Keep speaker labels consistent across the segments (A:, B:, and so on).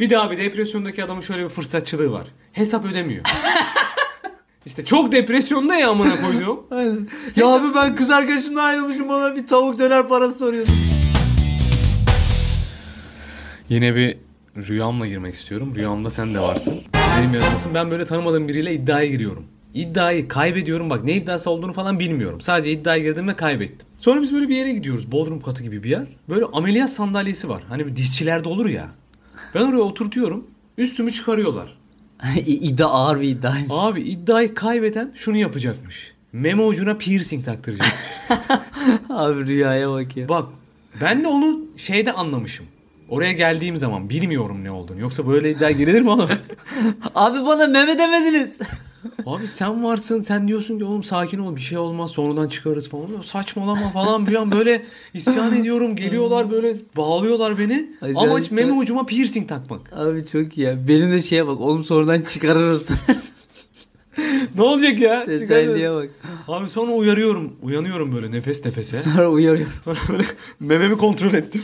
A: Bir de abi depresyondaki adamın şöyle bir fırsatçılığı var. Hesap ödemiyor. işte çok depresyonda ya amına koyduğum.
B: Aynen. Ya abi ben kız arkadaşımla ayrılmışım bana bir tavuk döner parası soruyordu.
A: Yine bir rüyamla girmek istiyorum. Rüyamda sen de varsın. Benim yanımdasın. Ben böyle tanımadığım biriyle iddiaya giriyorum. İddiayı kaybediyorum. Bak ne iddiası olduğunu falan bilmiyorum. Sadece iddiaya girdim ve kaybettim. Sonra biz böyle bir yere gidiyoruz. Bodrum katı gibi bir yer. Böyle ameliyat sandalyesi var. Hani bir dişçilerde olur ya. Ben oraya oturtuyorum. Üstümü çıkarıyorlar.
B: iddia ağır bir iddia.
A: Abi iddiayı kaybeden şunu yapacakmış. Meme ucuna piercing taktıracak.
B: Abi rüyaya bak ya.
A: Bak ben de onu şeyde anlamışım. Oraya geldiğim zaman bilmiyorum ne olduğunu. Yoksa böyle iddia girilir mi oğlum?
B: Abi bana meme demediniz.
A: Abi sen varsın sen diyorsun ki oğlum sakin ol bir şey olmaz sonradan çıkarız falan. Ya Saçmalama falan bir an böyle isyan ediyorum geliyorlar böyle bağlıyorlar beni.
B: Acayip
A: Ama
B: sen-
A: meme ucuma piercing takmak.
B: Abi çok iyi ya. Benim de şeye bak oğlum sonradan çıkarırız.
A: Ne olacak ya?
B: Sen diye bak.
A: Abi sonra uyarıyorum uyanıyorum böyle nefes nefese.
B: Sonra uyarıyorum.
A: Sonra böyle mememi kontrol ettim.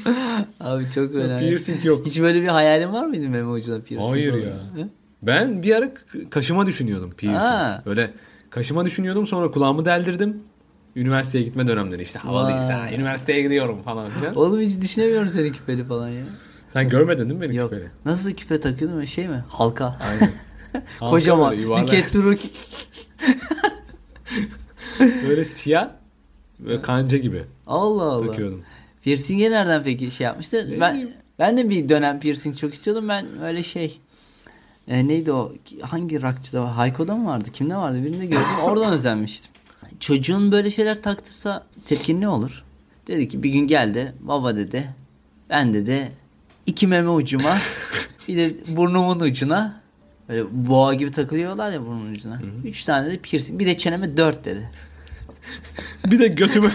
B: Abi çok önemli.
A: piercing yok.
B: Hiç böyle bir hayalin var mıydı meme ucuna piercing?
A: Hayır
B: falan?
A: ya.
B: Hı?
A: Ben bir ara k- kaşıma düşünüyordum piercing.
B: Ha.
A: Böyle kaşıma düşünüyordum sonra kulağımı deldirdim. Üniversiteye gitme dönemleri işte havalıyız
B: Vay.
A: ha üniversiteye gidiyorum falan filan.
B: Oğlum hiç düşünemiyorum senin küpeli falan ya.
A: Sen görmedin değil mi beni
B: Yok.
A: küpeli?
B: Nasıl küpe takıyordun? Şey mi? Halka.
A: Aynen. Halka
B: Kocaman.
A: böyle yuvarlak.
B: Nüket Duru
A: Böyle siyah ve kanca gibi
B: Allah Allah.
A: takıyordum.
B: Piercing'e nereden peki şey yapmıştı?
A: Ne
B: ben
A: bileyim.
B: ben de bir dönem piercing çok istiyordum. Ben öyle şey e, neydi o? Ki- Hangi rockçıda var? Hayko'da mı vardı? Kimde vardı? Birinde gördüm. Oradan özenmiştim. Çocuğun böyle şeyler taktırsa tepkin ne olur? Dedi ki bir gün geldi. Baba dedi. Ben dedi iki meme ucuma bir de burnumun ucuna böyle boğa gibi takılıyorlar ya burnun ucuna. Üç tane de piercing. Bir de çeneme dört dedi.
A: Bir de götüme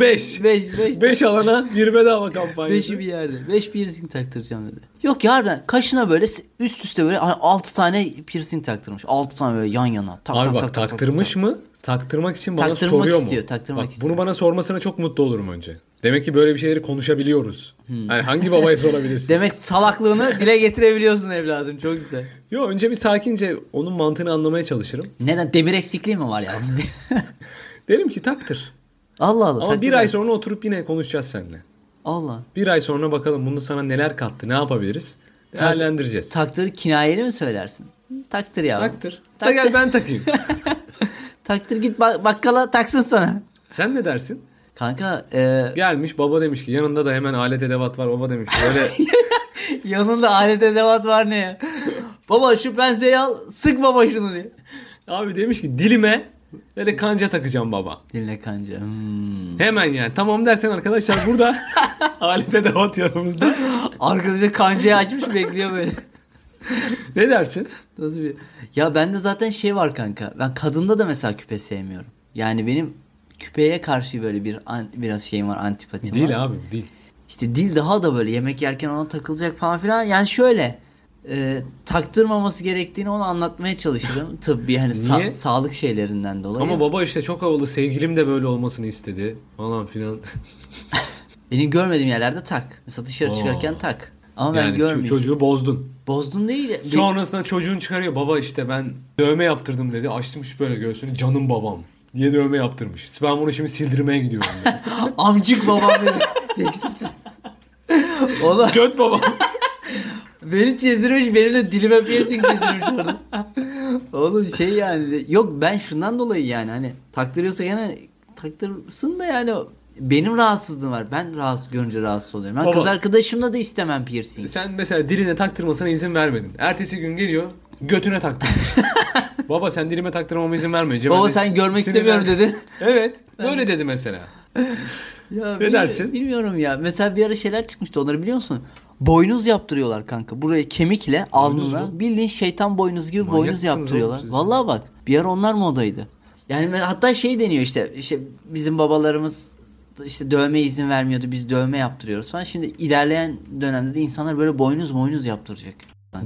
A: 5.
B: Beş, beş.
A: 5 alana bir bedava kampanyası.
B: Beşi bir yerde. Beş piercing taktıracağım dedi. Yok ya harbiden kaşına böyle se- üst üste böyle hani altı tane piercing taktırmış. Altı tane böyle yan yana. Tak,
A: Abi
B: tak,
A: bak
B: tak, tak,
A: taktırmış
B: tak,
A: mı? Taktırmak için bana
B: Taktırmak
A: soruyor mu?
B: istiyor, taktırmak
A: bak,
B: istiyor.
A: Bunu bana sormasına çok mutlu olurum önce. Demek ki böyle bir şeyleri konuşabiliyoruz.
B: Hmm.
A: Yani hangi babaya
B: tak.
A: sorabilirsin?
B: Demek salaklığını dile getirebiliyorsun evladım. Çok güzel.
A: Yo önce bir sakince onun mantığını anlamaya çalışırım.
B: Neden? Demir eksikliği mi var yani?
A: Derim ki taktır.
B: Allah Allah.
A: Ama bir
B: taktırmaz.
A: ay sonra oturup yine konuşacağız seninle.
B: Allah.
A: Bir ay sonra bakalım bunu sana neler kattı, ne yapabiliriz? Değerlendireceğiz.
B: Taktır kinayeli mi söylersin? Taktır yavrum.
A: Taktır. Da
B: Taktır.
A: gel ben takayım.
B: Taktır git bak- bakkala taksın sana.
A: Sen ne dersin?
B: Kanka e,
A: Gelmiş baba demiş ki yanında da hemen alet edevat var baba demiş ki böyle
B: yanında alet edevat var ne ya? baba şu penseyi al sık baba şunu diye.
A: abi demiş ki dilime böyle kanca takacağım baba.
B: Dinle kanca. Hmm.
A: Hemen yani tamam dersen arkadaşlar burada alet edevat yanımızda.
B: Arkadaşı kancayı açmış bekliyor böyle.
A: Ne dersin?
B: Nasıl bir... Ya bende zaten şey var kanka. Ben kadında da mesela küpe sevmiyorum. Yani benim küpeye karşı böyle bir an- biraz şeyim var antipatim var.
A: Değil abi değil.
B: İşte dil daha da böyle yemek yerken ona takılacak falan filan. Yani şöyle e, taktırmaması gerektiğini ona anlatmaya çalışırım. Tıbbi hani sa-
A: Niye?
B: sağlık şeylerinden dolayı.
A: Ama baba işte çok havalı sevgilim de böyle olmasını istedi falan filan.
B: Benim görmediğim yerlerde tak. Mesela dışarı
A: Oo.
B: çıkarken tak. Ama ben
A: yani ço-
B: görmüyorum.
A: çocuğu bozdun.
B: Bozdun değil.
A: Sonrasında çocuğun çıkarıyor baba işte ben dövme yaptırdım dedi. Açmış böyle göğsünü canım babam diye dövme yaptırmış. Ben bunu şimdi sildirmeye gidiyorum. dedi.
B: Amcık babam dedi. Oğlum
A: Göt babam.
B: Beni çizdirmiş benim de dilime piercing çizdirmiş orada. Oğlum şey yani yok ben şundan dolayı yani hani taktırıyorsa gene taktırsın da yani benim rahatsızlığım var. Ben rahatsız görünce rahatsız oluyorum. Ben
A: Baba.
B: kız arkadaşımla da istemem piercing.
A: Sen mesela diline taktırmasına izin vermedin. Ertesi gün geliyor götüne taktırmış. Baba sen dilime taktırmama izin vermeyeceğim.
B: Baba sen görmek istemiyorum dedin.
A: Evet. Böyle dedi mesela.
B: ya,
A: Ne dersin?
B: Bilmiyorum ya. Mesela bir ara şeyler çıkmıştı onları biliyor musun? Boynuz yaptırıyorlar kanka. Buraya kemikle alnına
A: mu?
B: bildiğin şeytan boynuz gibi
A: Manyak
B: boynuz
A: mısınız oğlum
B: yaptırıyorlar.
A: siz?
B: Vallahi bak bir ara onlar modaydı. Yani ben- hatta şey deniyor işte işte bizim babalarımız işte dövme izin vermiyordu biz dövme yaptırıyoruz falan. Şimdi ilerleyen dönemde de insanlar böyle boynuz boynuz yaptıracak.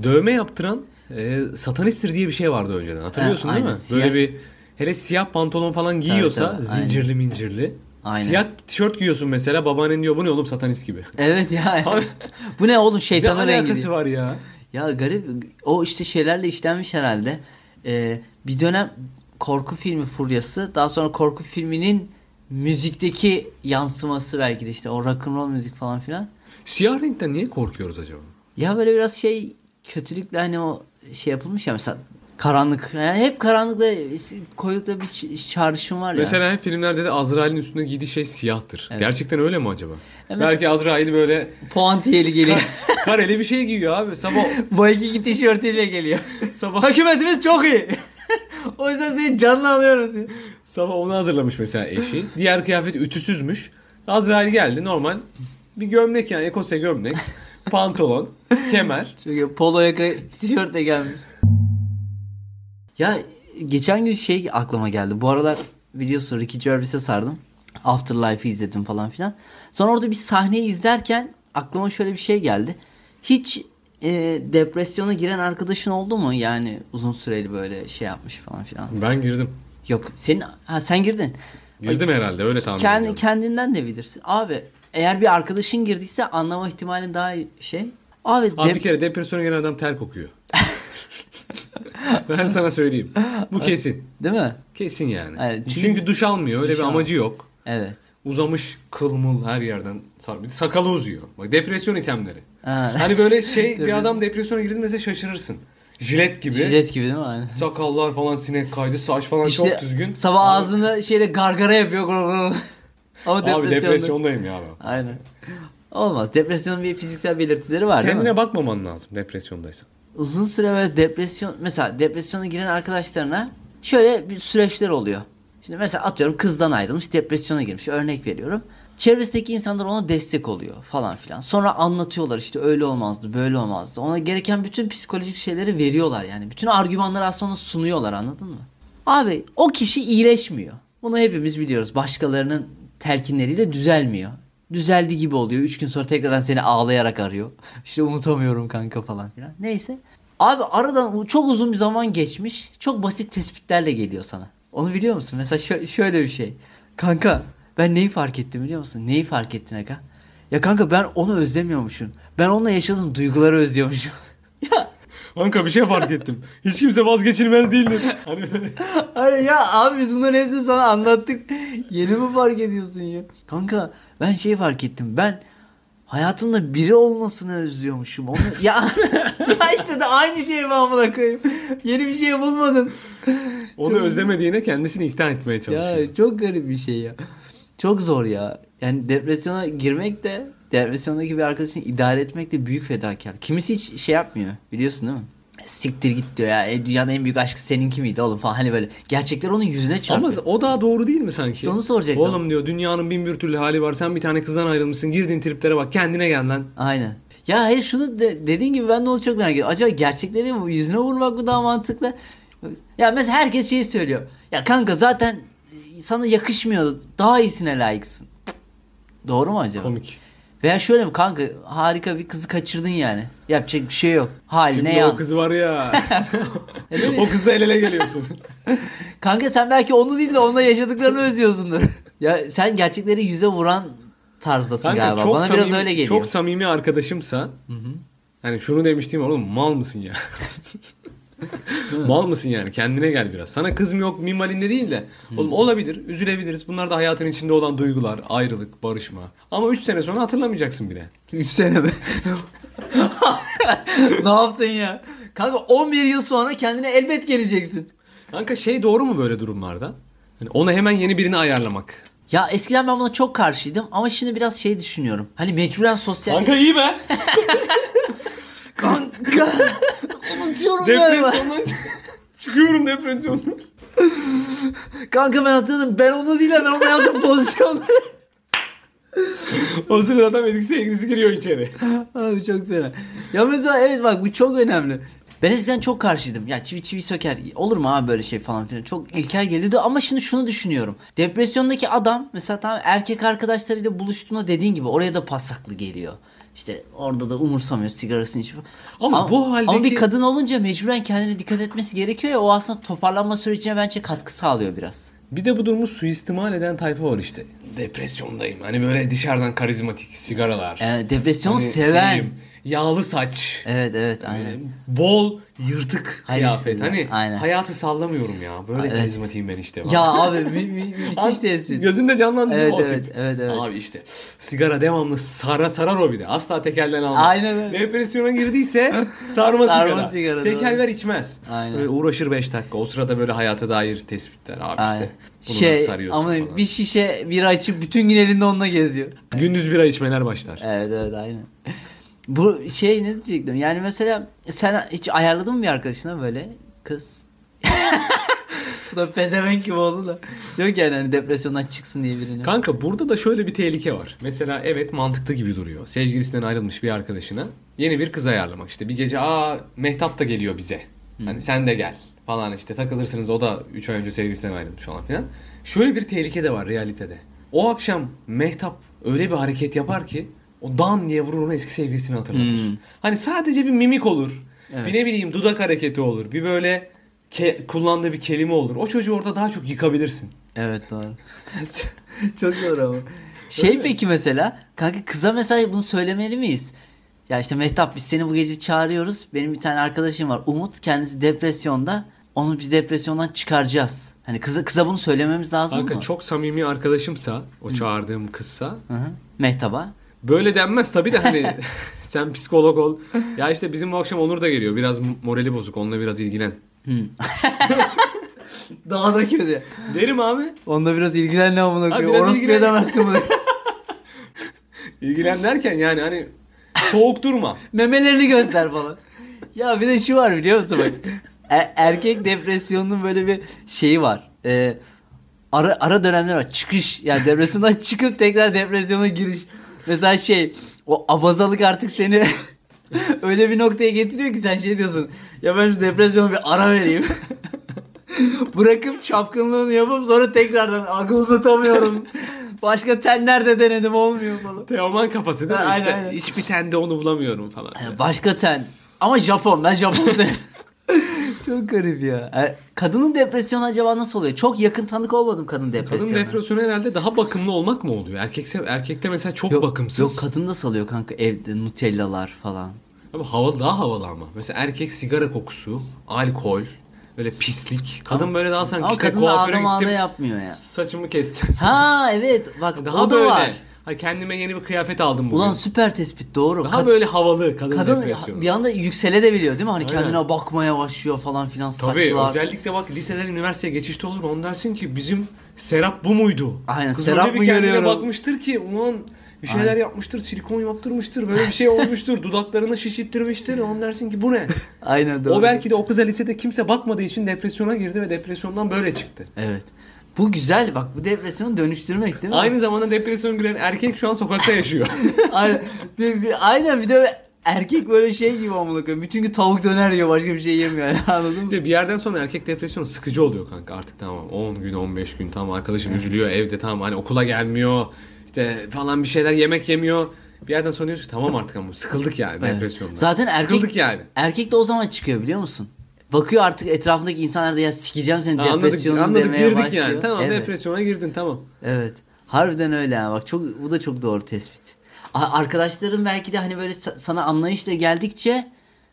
A: Dövme yaptıran e, satanisttir diye bir şey vardı önceden. Hatırlıyorsun
B: Ha,
A: değil
B: aynen,
A: mi? Böyle
B: siyah-
A: bir hele siyah pantolon falan giyiyorsa
B: tabii,
A: zincirli mincirli.
B: Aynen.
A: Siyah tişört giyiyorsun mesela babaannen diyor bu ne oğlum satanist gibi.
B: Evet ya.
A: Abi-
B: Bu ne oğlum
A: Ne
B: şeytanın rengi.
A: alakası
B: diye.
A: var ya?
B: Ya garip o işte şeylerle işlenmiş herhalde. Ee, bir dönem korku filmi furyası daha sonra korku filminin müzikteki yansıması belki de işte o rock and roll müzik falan filan.
A: Siyah renkten niye korkuyoruz acaba?
B: Ya böyle biraz şey kötülükle hani o şey yapılmış ya mesela karanlık. Yani hep karanlıkla koyulukla bir ç- çağrışım var ya.
A: Mesela filmlerde de Azrail'in üstünde giydiği şey siyahtır.
B: Evet.
A: Gerçekten öyle mi acaba?
B: mesela-
A: Belki Azrail böyle
B: Puantiyeli geliyor.
A: kareli bir şey giyiyor abi. Sabah
B: Boyki tişörtüyle geliyor.
A: sabah
B: Hakümetimiz çok iyi. o yüzden seni canlı alıyoruz diyor.
A: sabah onu hazırlamış mesela eşi. Diğer kıyafet ütüsüzmüş. Azrail geldi normal bir gömlek yani ekose gömlek, pantolon, kemer.
B: Çünkü polo yaka tişörtle gelmiş. Ya geçen gün şey aklıma geldi. Bu aralar biliyorsun Ricky Gervais'e sardım. Afterlife'ı izledim falan filan. Sonra orada bir sahneyi izlerken aklıma şöyle bir şey geldi. Hiç e, depresyona giren arkadaşın oldu mu? Yani uzun süreli böyle şey yapmış falan filan.
A: Ben girdim.
B: Yok senin ha sen girdin.
A: Girdim herhalde öyle tahmin
B: Kendi,
A: ediyorum.
B: kendinden de bilirsin. Abi eğer bir arkadaşın girdiyse anlama ihtimali daha iyi şey. Abi,
A: Abi
B: dep-
A: bir kere depresyona giren adam ter kokuyor. ben sana söyleyeyim. Bu kesin.
B: değil mi?
A: Kesin yani.
B: Evet, çünkü-
A: çünkü, duş almıyor. Öyle
B: Duş
A: bir
B: almıyor.
A: amacı yok.
B: Evet.
A: Uzamış kılmıl her yerden. sar- bir de Sakalı uzuyor. Bak depresyon itemleri.
B: Ha.
A: Hani böyle şey bir adam depresyona girdi mesela şaşırırsın. Jilet gibi.
B: Jilet gibi değil mi? Aynen.
A: Sakallar falan sinek kaydı. Saç falan
B: İşte
A: çok düzgün.
B: Sabah
A: Abi-
B: ağzını şeyle gargara yapıyor. gurur gurur. Ama
A: Abi
B: depresyonda.
A: depresyondayım ya. ben.
B: Aynen. Olmaz. Depresyonun bir fiziksel belirtileri var değil
A: Kendine
B: mi?
A: bakmaman lazım depresyondaysan.
B: Uzun süre böyle depresyon... Mesela depresyona giren arkadaşlarına şöyle bir süreçler oluyor. Şimdi mesela atıyorum kızdan ayrılmış depresyona girmiş. Örnek veriyorum. Çevresindeki insanlar ona destek oluyor falan filan. Sonra anlatıyorlar işte öyle olmazdı böyle olmazdı. Ona gereken bütün psikolojik şeyleri veriyorlar yani. Bütün argümanları aslında ona sunuyorlar anladın mı? Abi o kişi iyileşmiyor. Bunu hepimiz biliyoruz. Başkalarının telkinleriyle düzelmiyor. Düzeldi gibi oluyor. Üç gün sonra tekrardan seni ağlayarak arıyor. İşte unutamıyorum kanka falan filan. Neyse. Abi aradan u- çok uzun bir zaman geçmiş. Çok basit tespitlerle geliyor sana. Onu biliyor musun? Mesela şö- şöyle bir şey. Kanka ben neyi fark ettim biliyor musun? Neyi fark ettin Aga? Ya kanka ben onu özlemiyormuşum. Ben onunla yaşadığım duyguları özlüyormuşum. ya
A: Anka bir şey fark ettim. Hiç kimse vazgeçilmez değildir. Hani böyle-
B: Hani ya abi biz bunların hepsini sana anlattık. Yeni mi fark ediyorsun ya? Kanka ben şeyi fark ettim. Ben hayatımda biri olmasını özlüyormuşum. Onu... ya, ya işte de aynı şeyi ben amına koyayım. Yeni bir şey bulmadın.
A: Onu özlemediğine kendisini ikna etmeye çalışıyor.
B: Ya çok garip bir şey ya. Çok zor ya. Yani depresyona girmek de depresyondaki bir arkadaşını idare etmek de büyük fedakarlık. Kimisi hiç şey yapmıyor biliyorsun değil mi? Siktir git diyor ya. E, dünyanın en büyük aşkı seninki miydi oğlum falan. Hani böyle gerçekler onun yüzüne
A: Ama
B: çarpıyor.
A: o daha doğru değil mi sanki?
B: İşte onu soracaktım.
A: Oğlum diyor dünyanın bin bir türlü hali var. Sen bir tane kızdan ayrılmışsın. Girdin triplere bak kendine gel lan.
B: Aynen. Ya hayır şunu de, dediğin gibi ben de onu çok merak ediyorum. Acaba gerçekleri yüzüne vurmak mı daha mantıklı? Ya mesela herkes şeyi söylüyor. Ya kanka zaten sana yakışmıyordu. Daha iyisine layıksın. Doğru mu acaba?
A: Komik.
B: Veya şöyle mi kanka harika bir kızı kaçırdın yani. Yapacak bir şey yok.
A: Şimdi
B: Haline
A: o
B: yan.
A: kız var ya. o kızla el ele geliyorsun.
B: Kanka sen belki onu değil de onunla yaşadıklarını özlüyorsundur. ya sen gerçekleri yüze vuran tarzdasın
A: Kanka
B: galiba.
A: çok
B: Bana
A: samimi,
B: biraz öyle geliyor.
A: Çok samimi arkadaşımsa. Hani şunu demiştim oğlum mal mısın ya? mal mısın yani kendine gel biraz. Sana kız mı yok minvalinde değil de. Oğlum olabilir üzülebiliriz. Bunlar da hayatın içinde olan duygular. Ayrılık, barışma. Ama 3 sene sonra hatırlamayacaksın bile.
B: 3 sene mi? ne yaptın ya? Kanka 11 yıl sonra kendine elbet geleceksin.
A: Kanka şey doğru mu böyle durumlarda? Hani ona hemen yeni birini ayarlamak.
B: Ya eskiden ben buna çok karşıydım ama şimdi biraz şey düşünüyorum. Hani mecburen sosyal...
A: Kanka iyi be.
B: Kanka. Unutuyorum galiba.
A: Depresyondan çıkıyorum depresyondan.
B: Kanka ben hatırladım. Ben onu değil de ben onu yaptım pozisyonda.
A: O sırada adam eski sevgilisi giriyor içeri.
B: Abi çok fena. Ya mesela evet bak bu çok önemli. Ben eskiden çok karşıydım. Ya çivi çivi söker. Olur mu abi böyle şey falan filan. Çok ilkel geliyordu ama şimdi şunu düşünüyorum. Depresyondaki adam mesela tamam erkek arkadaşlarıyla buluştuğunda dediğin gibi oraya da pasaklı geliyor. İşte orada da umursamıyor sigarasını içiyor.
A: Ama bu haldeki-
B: Ama bir kadın olunca mecburen kendine dikkat etmesi gerekiyor ya. O aslında toparlanma sürecine bence katkı sağlıyor biraz.
A: Bir de bu durumu suistimal eden tayfa var işte. Depresyondayım. Hani böyle dışarıdan karizmatik sigaralar.
B: Ee, depresyonu
A: Hani
B: seven.
A: ne bileyim, Hani yağlı saç.
B: Evet evet aynen.
A: Böyle Bol yırtık
B: Aynısını
A: kıyafet.
B: da,
A: Hani
B: aynen.
A: hayatı sallamıyorum ya. Böyle karizmatiğim ben işte.
B: Ya abi mü- mü- müthiş tespit.
A: Gözünde canlandı değil mi
B: Evet,
A: o tip?
B: evet, evet, evet.
A: Abi işte sigara devamlı sara sarar o bir de. Asla tekelden almaz.
B: Aynen öyle.
A: Depresyona girdiyse sarma,
B: Sarma
A: sigara.
B: sigara,
A: Tekeller
B: doğru.
A: içmez.
B: Aynen.
A: Böyle uğraşır 5 dakika. O sırada böyle hayata dair tespitler. Abi
B: Aynen.
A: işte bunu nasıl
B: şey
A: sarıyorsun
B: ama
A: falan.
B: bir şişe bira açıp bütün gün elinde onunla geziyor.
A: Gündüz bira içmeler başlar.
B: Evet evet aynen. Bu şey ne diyecektim? Yani mesela sen hiç ayarladın mı bir arkadaşına böyle kız? Bu da pezevenk gibi oldu da. Diyor ki yani hani depresyondan çıksın diye birini.
A: Kanka burada da şöyle bir tehlike var. Mesela evet mantıklı gibi duruyor. Sevgilisinden ayrılmış bir arkadaşına yeni bir kız ayarlamak. İşte bir gece aa Mehtap da geliyor bize. Hani sen de gel falan işte takılırsınız o da 3 ay önce sevgilisinden ayrılmış falan filan. Şöyle bir tehlike de var realitede. O akşam Mehtap öyle bir hareket yapar ki o dan diye vurur onu eski sevgilisini hatırlatır. Hani sadece bir mimik olur.
B: Evet.
A: Bir ne bileyim dudak hareketi olur. Bir böyle ke- kullandığı bir kelime olur. O çocuğu orada daha çok yıkabilirsin.
B: Evet doğru. Çok doğru ama. Şey peki mesela kanka kıza mesela bunu söylemeli miyiz? Ya işte Mehtap biz seni bu gece çağırıyoruz. Benim bir tane arkadaşım var Umut kendisi depresyonda. Onu biz depresyondan çıkaracağız. Hani kıza, kıza bunu söylememiz lazım
A: Kanka
B: mı?
A: çok samimi arkadaşımsa, o çağırdığım kızsa
B: Hı hı. Mehtap'a.
A: böyle denmez tabii de hani sen psikolog ol. Ya işte bizim bu akşam Onur da geliyor. Biraz morali bozuk. Onunla biraz ilgilen.
B: Daha da kötü.
A: Derim abi.
B: Onda biraz ilgilen ne amına
A: koyayım. biraz Orospu ilgilen.
B: edemezsin bunu.
A: İlgilen derken yani hani soğuk durma.
B: Memelerini göster falan. ya bir de şu var biliyor musun bak. E- erkek depresyonunun böyle bir şeyi var. Ee, ara, ara dönemler var. Çıkış. Yani depresyondan çıkıp tekrar depresyona giriş. Mesela şey o abazalık artık seni öyle bir noktaya getiriyor ki sen şey diyorsun. Ya ben şu depresyona bir ara vereyim. Bırakıp çapkınlığını yapıp sonra tekrardan akıl uzatamıyorum. Başka tenlerde denedim olmuyor falan.
A: Teoman kafası değil mi?
B: Ha,
A: işte
B: aynen, aynen.
A: hiçbir tende onu bulamıyorum falan.
B: Ya Başka ten. Ee, Ama Japon. Ben Japon sen. Çok garip ya. E, Kadının depresyonu acaba nasıl oluyor? Çok yakın tanık olmadım kadın depresyonu.
A: Kadın depresyonu herhalde daha bakımlı olmak mı oluyor? Erkekse erkekte mesela çok
B: yok,
A: bakımsız.
B: Yok kadın da salıyor kanka evde nutellalar falan.
A: Ama havalı daha havalı ama. Mesela erkek sigara kokusu, alkol, böyle pislik. Kadın böyle daha sanki
B: Ama
A: işte
B: kadın da
A: kuaföre
B: ağda mağda
A: gittim,
B: yapmıyor ya.
A: Saçımı kestim.
B: Ha evet bak
A: Daha
B: o da
A: böyle.
B: var.
A: Ha, kendime yeni bir kıyafet aldım bugün.
B: Ulan süper tespit doğru.
A: Daha
B: Kad-
A: böyle havalı kadın,
B: kadın
A: depresyonu.
B: bir anda yüksele de biliyor değil mi? Hani
A: Aynen.
B: kendine bakmaya başlıyor falan filan
A: Tabii
B: saçlar.
A: özellikle bak liseden üniversiteye geçişte olur. Onu dersin ki bizim Serap bu muydu?
B: Aynen,
A: Kız
B: Serap
A: öyle bir
B: mı
A: kendine
B: görüyorum?
A: bakmıştır ki ulan bir şeyler yapmıştır, silikon yaptırmıştır, böyle bir şey olmuştur, dudaklarını şişittirmiştir. Onu dersin ki bu ne?
B: Aynen doğru.
A: o belki de o kıza lisede kimse bakmadığı için depresyona girdi ve depresyondan böyle çıktı.
B: Evet. Bu güzel bak bu depresyonu dönüştürmek değil mi?
A: Aynı zamanda depresyon gülen erkek şu an sokakta yaşıyor.
B: aynen. Bir, bir- aynen bir de erkek böyle şey gibi amına koyayım. Bütün gün tavuk döner yiyor başka bir şey yemiyor yani anladın mı?
A: Bir de bir yerden sonra erkek depresyonu sıkıcı oluyor kanka artık tamam 10 gün 15 gün tamam arkadaşım üzülüyor evde tamam hani okula gelmiyor işte falan bir şeyler yemek yemiyor. Bir yerden sonra diyorsun ki tamam artık ama sıkıldık yani depresyondan.
B: Zaten erkek
A: Sıkıldık yani.
B: Erkek de o zaman çıkıyor biliyor musun? Bakıyor artık etrafındaki insanlar da ya sikeceğim seni
A: Ha, anladık,
B: depresyonunu
A: anladık
B: demeye
A: girdik
B: başlıyor.
A: yani tamam
B: evet,
A: depresyona girdin tamam.
B: Evet. Harbiden öyle yani bak çok bu da çok doğru tespit. A- Arkadaşların belki de hani böyle sa- sana anlayışla geldikçe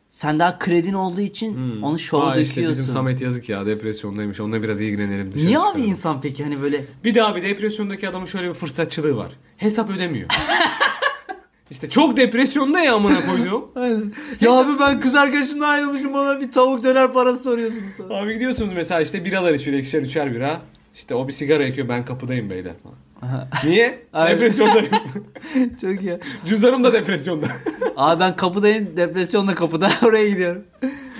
B: sen daha kredin olduğu için onu şova
A: Hmm. Aa, işte
B: döküyorsun.
A: bizim Samet yazık ya depresyondaymış onunla biraz ilgilenelim dışarı
B: Niye abi
A: çıkaralım.
B: insan peki hani böyle
A: Bir daha bir depresyondaki adamın şöyle bir fırsatçılığı var. Hesap ödemiyor. işte çok depresyonda ya amına koyduğum.
B: Aynen. Ya abi ben kız arkadaşımla ayrılmışım bana bir tavuk döner parası soruyorsunuz. sana.
A: Abi gidiyorsunuz mesela işte biralar içiyor ikişer üçer bira. İşte o bir sigara yakıyor ben kapıdayım beyler falan. Niye?
B: Aynen.
A: Depresyondayım.
B: Çok iyi.
A: Cüzdanım da depresyonda.
B: Abi ben kapıdayım depresyonla kapıda oraya gidiyorum.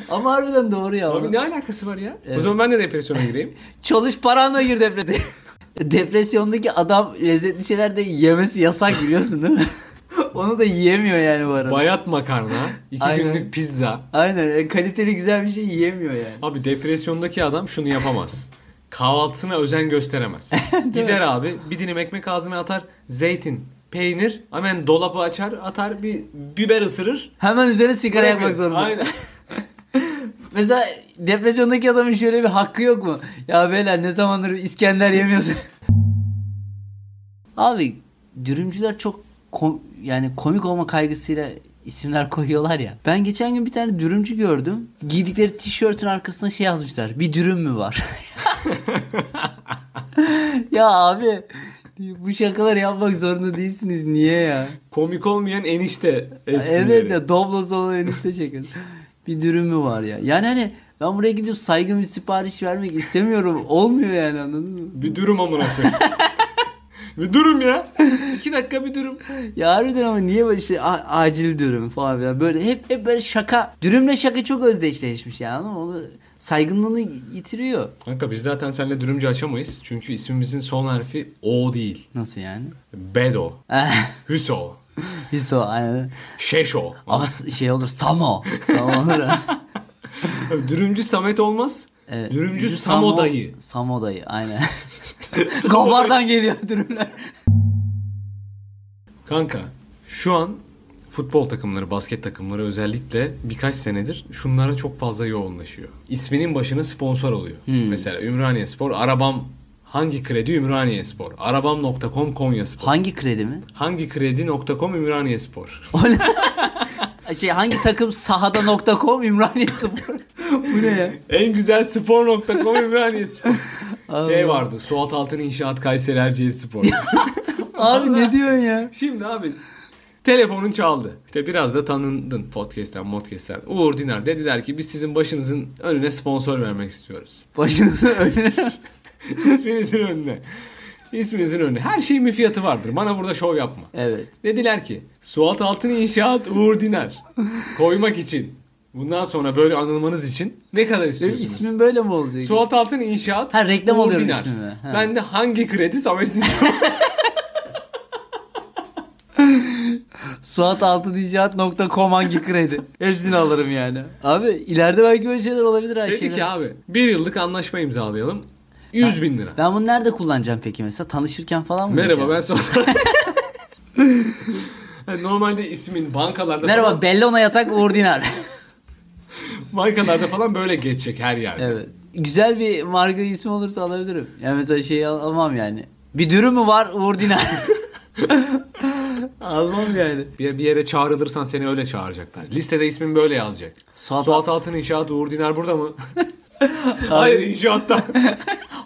B: Ama harbiden doğru ya.
A: Abi ne alakası var ya? O zaman ben de depresyona gireyim.
B: Çalış paranla gir depresyona. Depresyondaki adam lezzetli şeyler de yemesi yasak biliyorsun değil mi? Onu da yiyemiyor yani bu arada.
A: Bayat makarna, iki
B: Aynen.
A: günlük pizza.
B: Aynen e, kaliteli güzel bir şey yiyemiyor yani.
A: Abi depresyondaki adam şunu yapamaz. Kahvaltısına özen gösteremez. Gider abi bir dilim ekmek ağzına atar, zeytin, peynir, hemen dolabı açar, atar bir biber ısırır.
B: Hemen üzerine sigara yakmak
A: Bırakır.
B: zorunda.
A: Aynen.
B: Mesela depresyondaki adamın şöyle bir hakkı yok mu? Ya beyler ne zamandır İskender yemiyorsun. Abi dürümcüler çok kom- yani komik olma kaygısıyla isimler koyuyorlar ya. Ben geçen gün bir tane dürümcü gördüm. Giydikleri tişörtün arkasına şey yazmışlar. Bir dürüm mü var? ya abi bu şakaları yapmak zorunda değilsiniz. Niye ya?
A: Komik olmayan enişte esprileri.
B: Evet ya Doblos olan enişte şakası. bir dürümü var ya. Yani hani ben buraya gidip saygın bir sipariş vermek istemiyorum. Olmuyor yani anladın mı?
A: Bir durum amına koyayım. bir durum ya. İki dakika bir durum.
B: Ya harbiden ama niye böyle işte a- acil dürüm falan filan böyle hep hep böyle şaka. Dürümle şaka çok özdeşleşmiş yani anladın mı? Onu saygınlığını yitiriyor.
A: Kanka biz zaten seninle dürümcü açamayız. Çünkü ismimizin son harfi O değil.
B: Nasıl yani?
A: Bedo. Hüso.
B: Hiso aynen.
A: Şeşo.
B: Ama s- şey olur Samo. Samo olur ha.
A: Dürümcü Samet olmaz.
B: Evet.
A: E, Dürümcü
B: E, Samo-
A: Samo dayı.
B: Samo dayı aynen. Kabardan geliyor dürümler.
A: Kanka şu an futbol takımları, basket takımları özellikle birkaç senedir şunlara çok fazla yoğunlaşıyor. İsminin başına sponsor oluyor. Mesela Ümraniye Spor, Arabam hangi kredi Ümraniye Spor, Arabam.com Konya Spor,
B: Hangi kredi mi?
A: hangi kredi.com Ümraniye Spor.
B: Şey hangi takım sahada.com Ümraniye Spor. Bu ne ya?
A: en güzel spor.com Ümraniye Spor. şey
B: Allah.
A: vardı, Suat Altın İnşaat Kayseri Erciyes Spor.
B: Abi ne diyorsun ya?
A: Şimdi abi telefonun çaldı. İşte biraz da tanındın podcast'ten, podcast'ten. Uğur Dinar dediler ki biz sizin başınızın önüne sponsor vermek istiyoruz.
B: Başınızı önüne.
A: İsminizin önüne. İsminizin önüne. Her şeyin bir fiyatı vardır. Bana burada şov yapma.
B: evet.
A: Dediler ki Suat Altın İnşaat Uğur Dinar koymak için bundan sonra böyle anılmanız için ne kadar
B: Benim
A: istiyorsunuz?
B: ismim böyle mi olacak?
A: Suat Altın İnşaat
B: Ha, reklam
A: Uğur
B: alıyorum
A: Dinar.
B: ismime. Ha.
A: Ben de hangi kredi Samet Sincan-
B: Suat Altınticaret.com hangi kredi? Hepsini alırım yani. Abi ileride belki böyle şeyler olabilir her
A: Dedi
B: şeyden.
A: ki abi bir yıllık anlaşma imzalayalım. 100 bin lira.
B: Ben bunu nerede kullanacağım peki mesela? Tanışırken falan mı?
A: Merhaba
B: diyeceğim?
A: ben Suat Yani Normalde ismin bankalarda
B: Merhaba
A: falan,
B: Bellona Yatak Uğur Dinar.
A: bankalarda falan böyle geçecek her yerde.
B: evet. Güzel bir marka ismi olursa alabilirim. Yani mesela şeyi al- almam yani. Bir dürüm mü var Uğur Dinar? almam yani.
A: Bir, bir yere çağrılırsan seni öyle çağıracaklar. Listede ismin böyle yazacak.
B: Suat-
A: Suat, Altın İnşaat Uğur Dinar burada mı? Hayır inşaatta.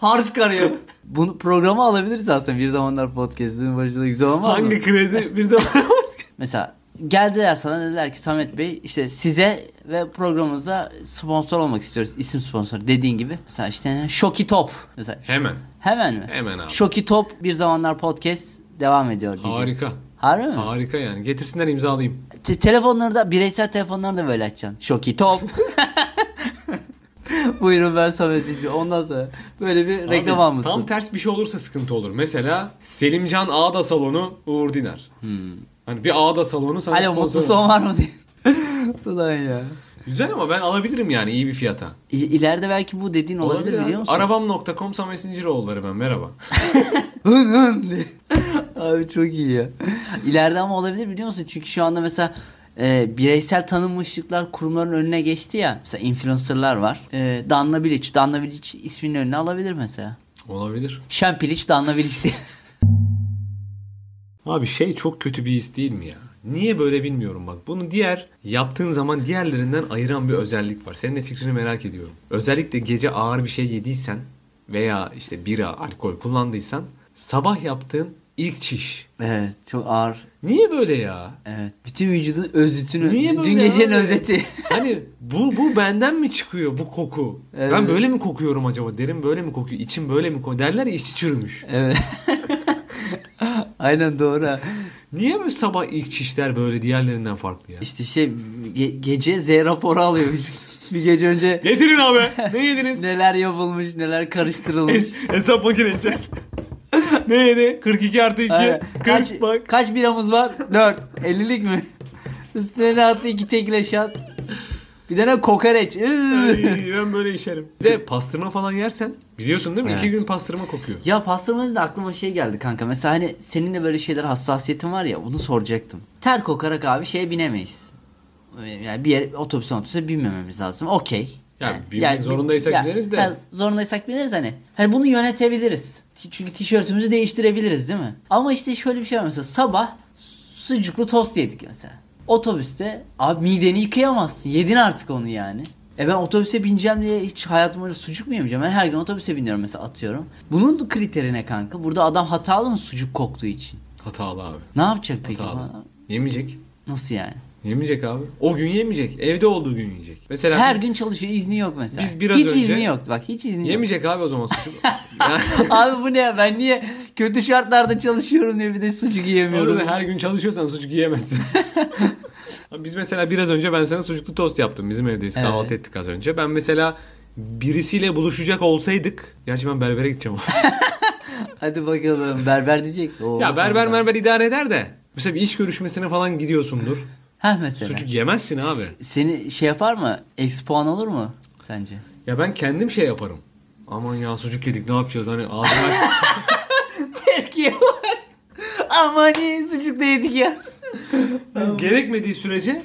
B: Harç karıyor. Bunu programa alabiliriz aslında bir zamanlar podcast'in başında güzel olmaz mı?
A: Hangi kredi bir zaman
B: Mesela geldiler sana dediler ki Samet Bey işte size ve programımıza sponsor olmak istiyoruz. İsim sponsor dediğin gibi. Mesela işte ne? Şoki Top. Mesela
A: Hemen.
B: hemen mi?
A: Hemen abi.
B: Şoki Top bir zamanlar podcast devam ediyor diyecek.
A: Harika.
B: Harbi mi?
A: Harika yani. Getirsinler imzalayayım.
B: Te- telefonları da bireysel telefonları da böyle açacaksın. Şoki Top. Buyurun ben Samet Sinci. Ondan sonra böyle bir reklam
A: Abi,
B: almışsın.
A: Tam ters bir şey olursa sıkıntı olur. Mesela Selimcan Ağda Salonu Uğur Dinar. Hani bir Ağda Salonu sana
B: Hmm. Alo
A: sponsor
B: mutlu
A: olur.
B: son var mı diye. Ulan ya.
A: Güzel ama ben alabilirim yani iyi bir fiyata.
B: İ- İleride belki bu dediğin olabilir,
A: abi.
B: biliyor musun?
A: Arabam.com Samet Sinciroğulları ben merhaba.
B: Hın hın diye. Abi çok iyi ya. İleride ama olabilir biliyor musun? Çünkü şu anda mesela e, bireysel tanınmışlıklar kurumların önüne geçti ya. Mesela influencerlar var. E, Danla Bilic. Danla Bilic isminin önüne alabilir mesela.
A: Olabilir.
B: Şen Pilic, Danla Bilic diye.
A: Abi şey çok kötü bir his değil mi ya? Niye böyle bilmiyorum bak. Bunu diğer yaptığın zaman diğerlerinden ayıran bir özellik var. Senin de fikrini merak ediyorum. Özellikle gece ağır bir şey yediysen veya işte bira, alkol kullandıysan sabah yaptığın ilk çiş.
B: evet çok ağır.
A: Niye böyle ya?
B: Evet. Bütün vücudun özütünü.
A: Niye böyle
B: Dün gecenin
A: abi?
B: özeti.
A: Hani bu bu benden mi çıkıyor bu koku?
B: Evet.
A: Ben böyle mi kokuyorum acaba? Derim böyle mi kokuyor? İçim böyle mi kokuyor? Derler ya içi çürümüş.
B: evet. Aynen doğru. ha.
A: Niye böyle sabah ilk çişler böyle diğerlerinden farklı ya?
B: İşte şey ge- gece Z raporu alıyor. vücut. bir gece önce
A: Getirin abi. Ne yediniz?
B: neler yapılmış, neler karıştırılmış.
A: Es- hesap makinesi. Neydi? 42 artı 2.
B: Aynen.
A: 40
B: kaç,
A: bak.
B: kaç biramız var? 4. 50'lik mi? Üstüne attı iki tekle şat. Bir tane kokoreç. Üü.
A: ben böyle işerim. Bir de pastırma falan yersen biliyorsun değil mi? İki
B: Evet.
A: gün pastırma kokuyor.
B: ya pastırma dedi de aklıma şey geldi kanka. Mesela hani senin de böyle şeyler hassasiyetin var ya bunu soracaktım. Ter kokarak abi şeye binemeyiz. Yani bir yer otobüse otobüse binmememiz lazım. Okey.
A: Ya binmek zorundaysak
B: ya,
A: bineriz de.
B: ya zorundaysak bineriz hani. Hani bunu yönetebiliriz. T- Çünkü tişörtümüzü değiştirebiliriz değil mi? Ama işte şöyle bir şey var mesela sabah sucuklu tost yedik mesela. Otobüste abi mideni yıkayamazsın. Yedin artık onu yani. E ben otobüse bineceğim diye hiç hayatım boyunca sucuk mu yemeyeceğim? Ben her gün otobüse biniyorum mesela atıyorum. Bunun kriterine kanka. Burada adam hatalı mı sucuk koktuğu için?
A: Hatalı abi.
B: Ne yapacak peki? bu
A: Hatalı.
B: adam?
A: Yemeyecek.
B: Nasıl yani?
A: Yemeyecek abi. O gün yemeyecek. Evde olduğu gün yiyecek. Mesela
B: Her
A: biz-
B: gün çalışıyor izni yok mesela.
A: biz biraz
B: hiç
A: önce-
B: izni yok bak hiç izni yok.
A: yemeyecek abi o zaman sucuk. Yani-
B: Abi bu ne ya ben niye kötü şartlarda çalışıyorum diye bir de sucuk yiyemiyorum.
A: Orada her gün çalışıyorsan sucuk yiyemezsin. Biz mesela biraz önce ben sana sucuklu tost yaptım. Bizim evdeyiz.
B: Evet.
A: Kahvaltı ettik az önce. Ben mesela birisiyle buluşacak olsaydık. Gerçi ben berbere gideceğim.
B: Hadi bakalım berber diyecek. Oo,
A: ya berber
B: sonra-
A: merber idare eder de. Mesela bir iş görüşmesine falan gidiyorsundur.
B: Heh mesela.
A: sucuk yemezsin abi.
B: Seni şey yapar mı? Eksi puan olur mu sence?
A: Ya ben kendim şey yaparım. Aman ya sucuk yedik ne yapacağız hani ağzına
B: Terkiye var. Aman iyi sucuk da yedik ya.
A: gerekmediği sürece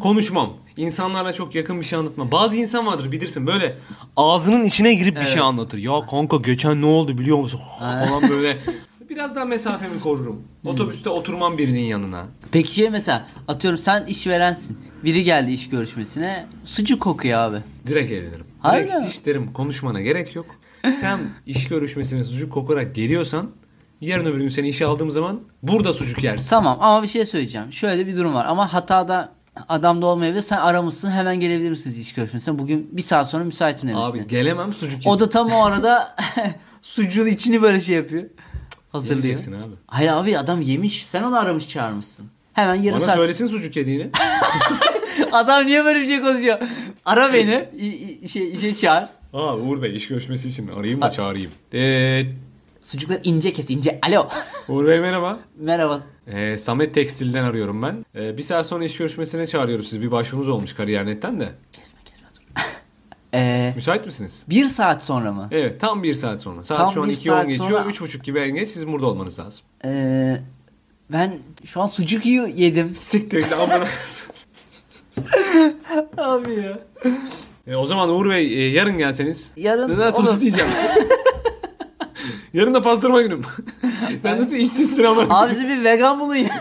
A: konuşmam. İnsanlarla çok yakın bir şey anlatma. Bazı insan vardır bilirsin böyle ağzının içine girip bir şey anlatır. Ya kanka geçen ne oldu biliyor musun? falan böyle. Biraz daha mesafemi korurum.
B: Hmm.
A: Otobüste oturmam birinin yanına.
B: Peki şey mesela atıyorum sen işverensin. Biri geldi iş görüşmesine. Sucuk kokuyor abi.
A: Direkt eğlenirim.
B: Harbi
A: Direkt
B: mi?
A: hiç derim konuşmana gerek yok. Sen iş görüşmesine sucuk kokarak geliyorsan yarın öbür gün seni işe aldığım zaman burada sucuk yersin.
B: Tamam ama bir şey söyleyeceğim. Şöyle bir durum var ama hatada adamda olmayabilir. Sen aramışsın hemen gelebilir misiniz iş görüşmesine? Bugün bir saat sonra müsaitim demişsin.
A: Abi gelemem sucuk
B: O da tam o arada sucuğun içini böyle şey yapıyor. Hazırlıyor.
A: Yemeyeceksin abi.
B: Hayır abi adam yemiş. Sen onu aramış çağırmışsın. Hemen yarım
A: Bana
B: saat.
A: söylesin sucuk yediğini.
B: Adam niye böyle bir şey konuşuyor?
A: Ee,
B: Ara beni. i- i- şey, işe çağır.
A: Aa Uğur Bey iş görüşmesi için arayayım da çağırayım. Ee,
B: Sucuklar ince kes ince. Alo.
A: Uğur Bey merhaba.
B: Merhaba.
A: Ee, Samet Tekstil'den arıyorum ben. Ee, bir saat sonra iş görüşmesine çağırıyoruz sizi. Bir başvurunuz olmuş kariyer.net'ten de.
B: Kesme kesme dur. Ee,
A: Müsait misiniz?
B: bir saat sonra mı?
A: Evet tam bir saat sonra. Saat
B: Tam
A: şu an
B: bir
A: 2.10
B: saat
A: geçiyor.
B: sonra-
A: 3.30 gibi en geç sizin burada olmanız lazım.
B: Ee, ben şu an sucuk yiyor- yedim.
A: Siktir lan bunu.
B: Abi ya.
A: Ee, o zaman Uğur Bey e, yarın gelseniz.
B: Yarın
A: Neden sosis
B: olur.
A: diyeceğim. yarın da pastırma günüm. Sen nasıl işsizsin ama.
B: Abi siz bir vegan bulun ya.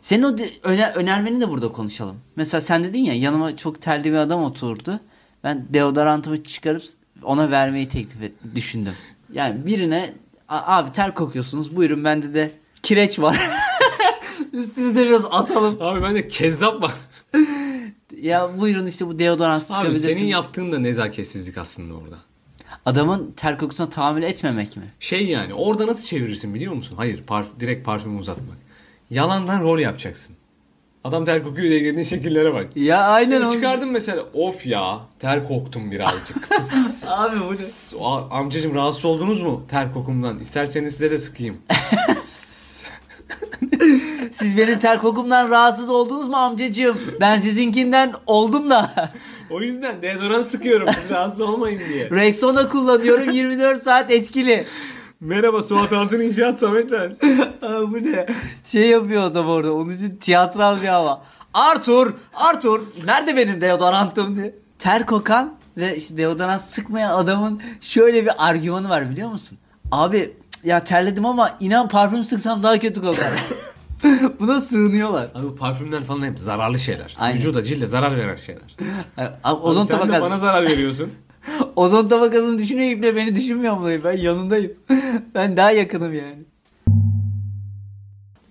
B: Senin o de- öne- önermeni de burada konuşalım. Mesela sen dedin ya yanıma çok terli bir adam oturdu. Ben deodorantımı çıkarıp ona vermeyi teklif et, düşündüm. Yani birine "A- abi ter kokuyorsunuz buyurun bende de kireç var. Üstünüze biraz atalım.
A: Abi ben de kezzap var.
B: Ya buyurun işte bu deodorant
A: Abi
B: sıkabilirsiniz.
A: senin yaptığın da nezaketsizlik aslında orada.
B: Adamın ter kokusuna tahammül etmemek mi?
A: Şey yani orada nasıl çevirirsin biliyor musun? Hayır parf- direkt parfümü uzatmak. Yalandan rol yapacaksın. Adam ter kokuyor diye girdiğin şekillere bak.
B: Ya aynen
A: Yani çıkardım mesela of ya ter koktum birazcık. Fıs,
B: Abi bu
A: fıs. O, Amcacım rahatsız oldunuz mu ter kokumdan? İsterseniz size de sıkayım.
B: Siz benim ter kokumdan rahatsız oldunuz mu amcacığım? Ben sizinkinden oldum da.
A: o yüzden deodorant sıkıyorum siz rahatsız olmayın diye.
B: Rexona kullanıyorum 24 saat etkili.
A: Merhaba Suat Altın İnşaat Samet ben.
B: Aa, bu ne? Şey yapıyor adam orada. Onun için tiyatral bir hava. Arthur! Arthur! Nerede benim deodorantım diye. Ter kokan ve işte deodorant sıkmayan adamın şöyle bir argümanı var biliyor musun? Abi ya terledim ama inan parfüm sıksam daha kötü kokar. Buna sığınıyorlar.
A: Abi bu parfümler falan hep zararlı şeyler.
B: Aynen.
A: Vücuda cilde zarar veren şeyler.
B: Abi, ozon
A: Sen de
B: tabakası.
A: bana zarar veriyorsun.
B: Ozon tabakasını düşünüyor iple beni düşünmüyor mu dayı? Ben yanındayım. ben daha yakınım yani.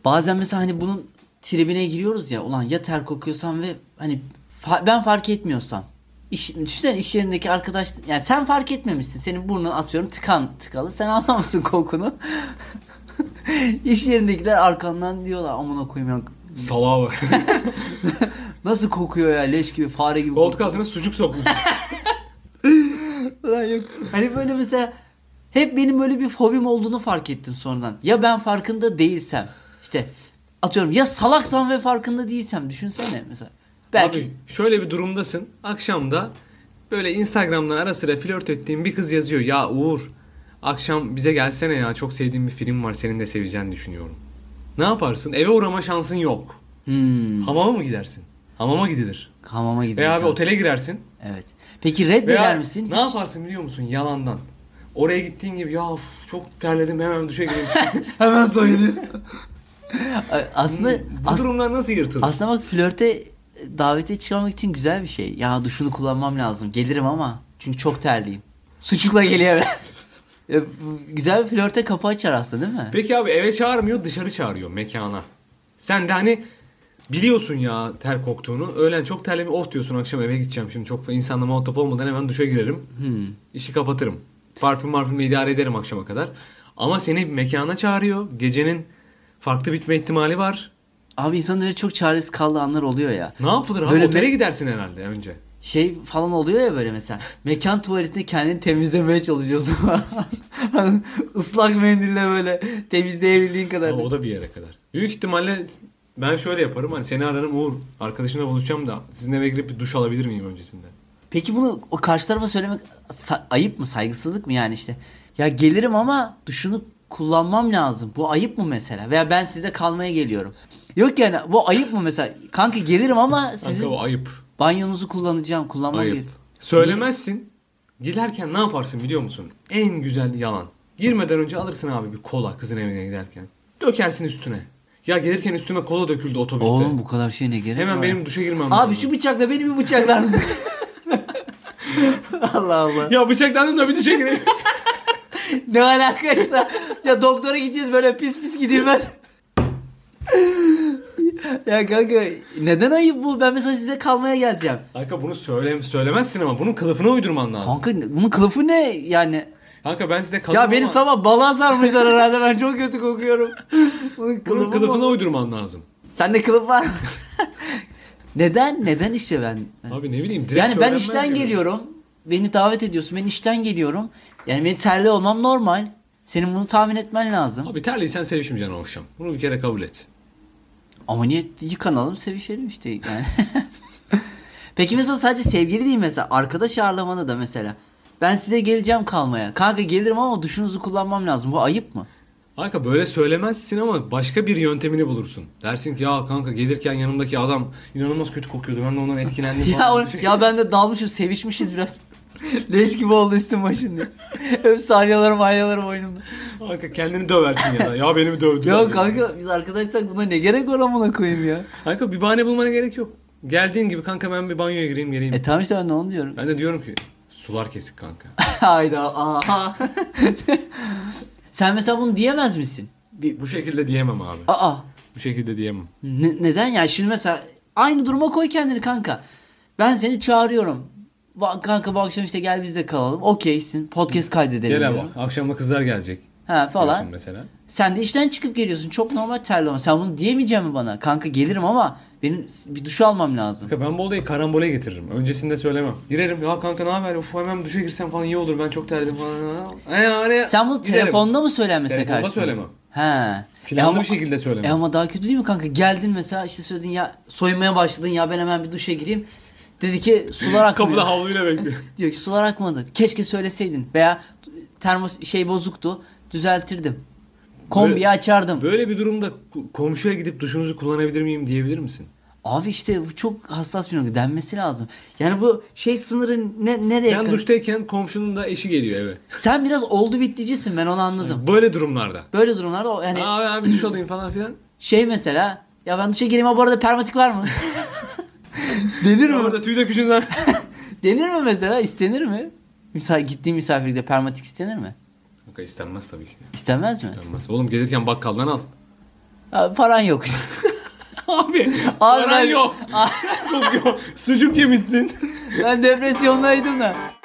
B: Bazen mesela hani bunun tribine giriyoruz ya ulan ya ter kokuyorsam ve hani fa- ben fark etmiyorsam. İş, düşünsene iş yerindeki arkadaş yani sen fark etmemişsin. Senin burnun atıyorum tıkan tıkalı. Sen anlamışsın kokunu. iş yerindekiler arkandan diyorlar amına koyayım ya.
A: Salağa bak.
B: Nasıl kokuyor ya leş gibi fare gibi. kokuyor."
A: Koltuk altına sucuk sokmuş.
B: Ulan yok. Hani böyle mesela Hep benim böyle bir fobim olduğunu fark ettim sonradan. Ya ben farkında değilsem. işte atıyorum ya salaksam ve farkında değilsem. Düşünsene mesela. Belki
A: Abi şöyle bir durumdasın. Akşam da böyle Instagram'dan ara sıra flört ettiğin bir kız yazıyor. Ya Uğur akşam bize gelsene ya çok sevdiğim bir film var senin de seveceğini düşünüyorum. Ne yaparsın? Eve uğrama şansın yok.
B: Hmm,
A: Hamama mı gidersin? Hamama gidilir.
B: hamama gidelim.
A: Veya E abi
B: kanka.
A: otele girersin.
B: Evet. Peki
A: Veya
B: reddeder misin?
A: Ne
B: Hiç-
A: yaparsın biliyor musun? Yalandan. Oraya gittiğin gibi ya of, çok terledim hemen duşa gireyim.
B: Hemen soyunuyor. aslında
A: Hmm, Bu
B: as-
A: durumlar nasıl yırtılır?
B: aslında bak flörte e, davete çıkarmak için güzel bir şey. Ya duşunu kullanmam lazım. Gelirim ama çünkü çok terliyim. Sucukla geliyor. Ya, bu güzel bir flörte kapı açar aslında değil mi?
A: Peki abi eve çağırmıyor dışarı çağırıyor mekana. Sen de hani biliyorsun ya ter koktuğunu. Öğlen çok terlemi of diyorsun akşam eve gideceğim şimdi çok insanla muhatap olmadan hemen duşa girerim.
B: Hmm.
A: işi kapatırım. Parfüm parfümle idare ederim akşama kadar. Ama seni mekana çağırıyor. Gecenin farklı bitme ihtimali var.
B: Abi insanın öyle çok çaresiz kaldığı anlar oluyor ya.
A: Ne yapılır abi?
B: Böyle
A: Otele
B: me-
A: gidersin herhalde önce.
B: Şey falan oluyor ya böyle mesela. Mekan tuvaletinde kendini temizlemeye çalışıyorsun. Islak mendille böyle temizleyebildiğin kadar.
A: Ama o da bir yere kadar. Büyük ihtimalle ben şöyle yaparım. Hani seni ararım Uğur. Arkadaşımla buluşacağım da sizin eve girip bir duş alabilir miyim öncesinde?
B: Peki bunu o karşı tarafa söylemek sa- ayıp mı, saygısızlık mı yani işte? Ya gelirim ama duşunu kullanmam lazım. Bu ayıp mı mesela? Veya ben sizde kalmaya geliyorum. Yok yani bu ayıp mı mesela? Kanka gelirim ama
A: Kanka
B: sizin
A: o ayıp.
B: banyonuzu kullanacağım, kullanmam
A: Ayıp.
B: gerekiyor.
A: Söylemezsin. Giderken ne yaparsın biliyor musun? En güzel yalan. Girmeden önce alırsın abi bir kola kızın evine giderken. Dökersin üstüne. Ya gelirken üstüme kola döküldü otobüste.
B: Oğlum bu kadar şey ne gerek
A: Hemen
B: var?
A: benim duşa girmem
B: Abi
A: lazım.
B: şu bıçakla beni bir bıçaklar mısın? Allah Allah.
A: Ya bıçaklandım da bir duşa gireyim.
B: Ne alakaysa. Ya doktora gideceğiz böyle pis pis gidilmez. ya kanka neden ayıp bu? Ben mesela size kalmaya geleceğim.
A: Kanka bunu söyle, söylemezsin ama bunun kılıfına uydurman lazım. Kanka,
B: Kanka bunun kılıfı ne yani?
A: ben size kalın
B: Ya beni
A: ama
B: sabah balığa sarmışlar herhalde ben çok kötü kokuyorum. Bunun
A: bunun
B: kılıfı
A: kılıfına
B: mı?
A: uydurman lazım.
B: Sende kılıf var mı? Neden? Neden işte ben?
A: Abi ne bileyim direkt
B: Yani ben
A: söylenmez
B: işten
A: yani.
B: geliyorum. Beni davet ediyorsun. Ben işten geliyorum. Yani benim terli olmam normal. Senin bunu tahmin etmen lazım.
A: Abi terliysen sevişmeyeceksin o akşam. Bunu bir kere kabul et.
B: Ama niye yıkanalım sevişelim işte yani. Peki mesela sadece sevgili değil mesela arkadaş ağırlamada da mesela. Ben size geleceğim kalmaya. Kanka gelirim ama duşunuzu kullanmam lazım. Bu ayıp mı?
A: Kanka böyle söylemezsin ama başka bir yöntemini bulursun. Dersin ki ya kanka gelirken yanımdaki adam inanılmaz kötü kokuyordu. Ben de ondan etkilendim
B: ya,
A: falan.
B: o- ya ben de dalmışım sevişmişiz biraz. Leş gibi oldu üstüm başım diye. Hep salyalarım ayyalarım oyunumda.
A: Kanka kendini döversin ya. Ya beni dövdü.
B: Ya kanka biz arkadaşsak buna ne gerek var amına koyayım ya.
A: Kanka bir bahane bulmana gerek yok. Geldiğin gibi kanka ben bir banyoya gireyim geleyim.
B: E tamam işte ben de onu diyorum.
A: Ben de diyorum ki sular kesik kanka.
B: Hayda aha. Sen mesela bunu diyemez misin? Bir,
A: Bu şekilde diyemem abi.
B: aa
A: Bu şekilde diyemem.
B: Ne- neden ya? Şimdi mesela aynı duruma koy kendini kanka. Ben seni çağırıyorum. Bak kanka bu akşam işte gel bizde kalalım. Okeysin. Podcast kaydedelim
A: Gel abi
B: diyorum.
A: akşamda kızlar gelecek.
B: Ha
A: Falan.
B: falan.
A: Mesela.
B: Sen de işten çıkıp geliyorsun. Çok normal terlama. Sen bunu diyemeyecek mi bana? Kanka gelirim ama benim bir duş almam lazım.
A: Kanka ben bu olayı karambole getiririm. Öncesinde söylemem. Girerim ya kanka ne haber? Uf hemen duşa girsem falan iyi olur. Ben çok terledim falan. Ee, araya-
B: Sen bunu
A: Giderim.
B: telefonda mı söylenmesine
A: Telefonda
B: karşı?
A: söylemem.
B: He. E
A: Planlı
B: ama-
A: bir şekilde söyleme.
B: E ama daha kötü değil mi kanka? Geldin mesela işte söyledin ya soymaya başladın ya ben hemen bir duşa gireyim. Dedi ki sular akmıyor.
A: Kapıda havluyla bekliyor.
B: Diyor ki sular akmadı. Keşke söyleseydin. Veya termos şey bozuktu. Düzeltirdim. Kombiyi
A: Böyle-
B: açardım.
A: Böyle bir durumda ko- komşuya gidip duşunuzu kullanabilir miyim diyebilir misin?
B: Abi işte bu çok hassas bir nokta. Denmesi lazım. Yani bu şey sınırı ne, nereye
A: Sen
B: kadar-
A: duştayken komşunun da eşi geliyor eve.
B: Sen biraz oldu bitticisin ben onu anladım.
A: Böyle durumlarda.
B: Böyle durumlarda o yani
A: Abi abi duş alayım falan filan.
B: şey mesela ya ben duşa gireyim ama bu arada permatik var mı? Denir mi?
A: Orada tüy döküşün var.
B: Denir mi mesela? İstenir mi? Misal gittiğim misafirlikte permatik istenir mi?
A: Kanka istenmez tabii ki.
B: İstenmez mi?
A: İstenmez. Oğlum gelirken bakkaldan al.
B: Abi paran yok.
A: Abi,
B: Abi
A: paran
B: ben-
A: yok. Yok, yok. Sucuk yemişsin.
B: ben depresyondaydım da.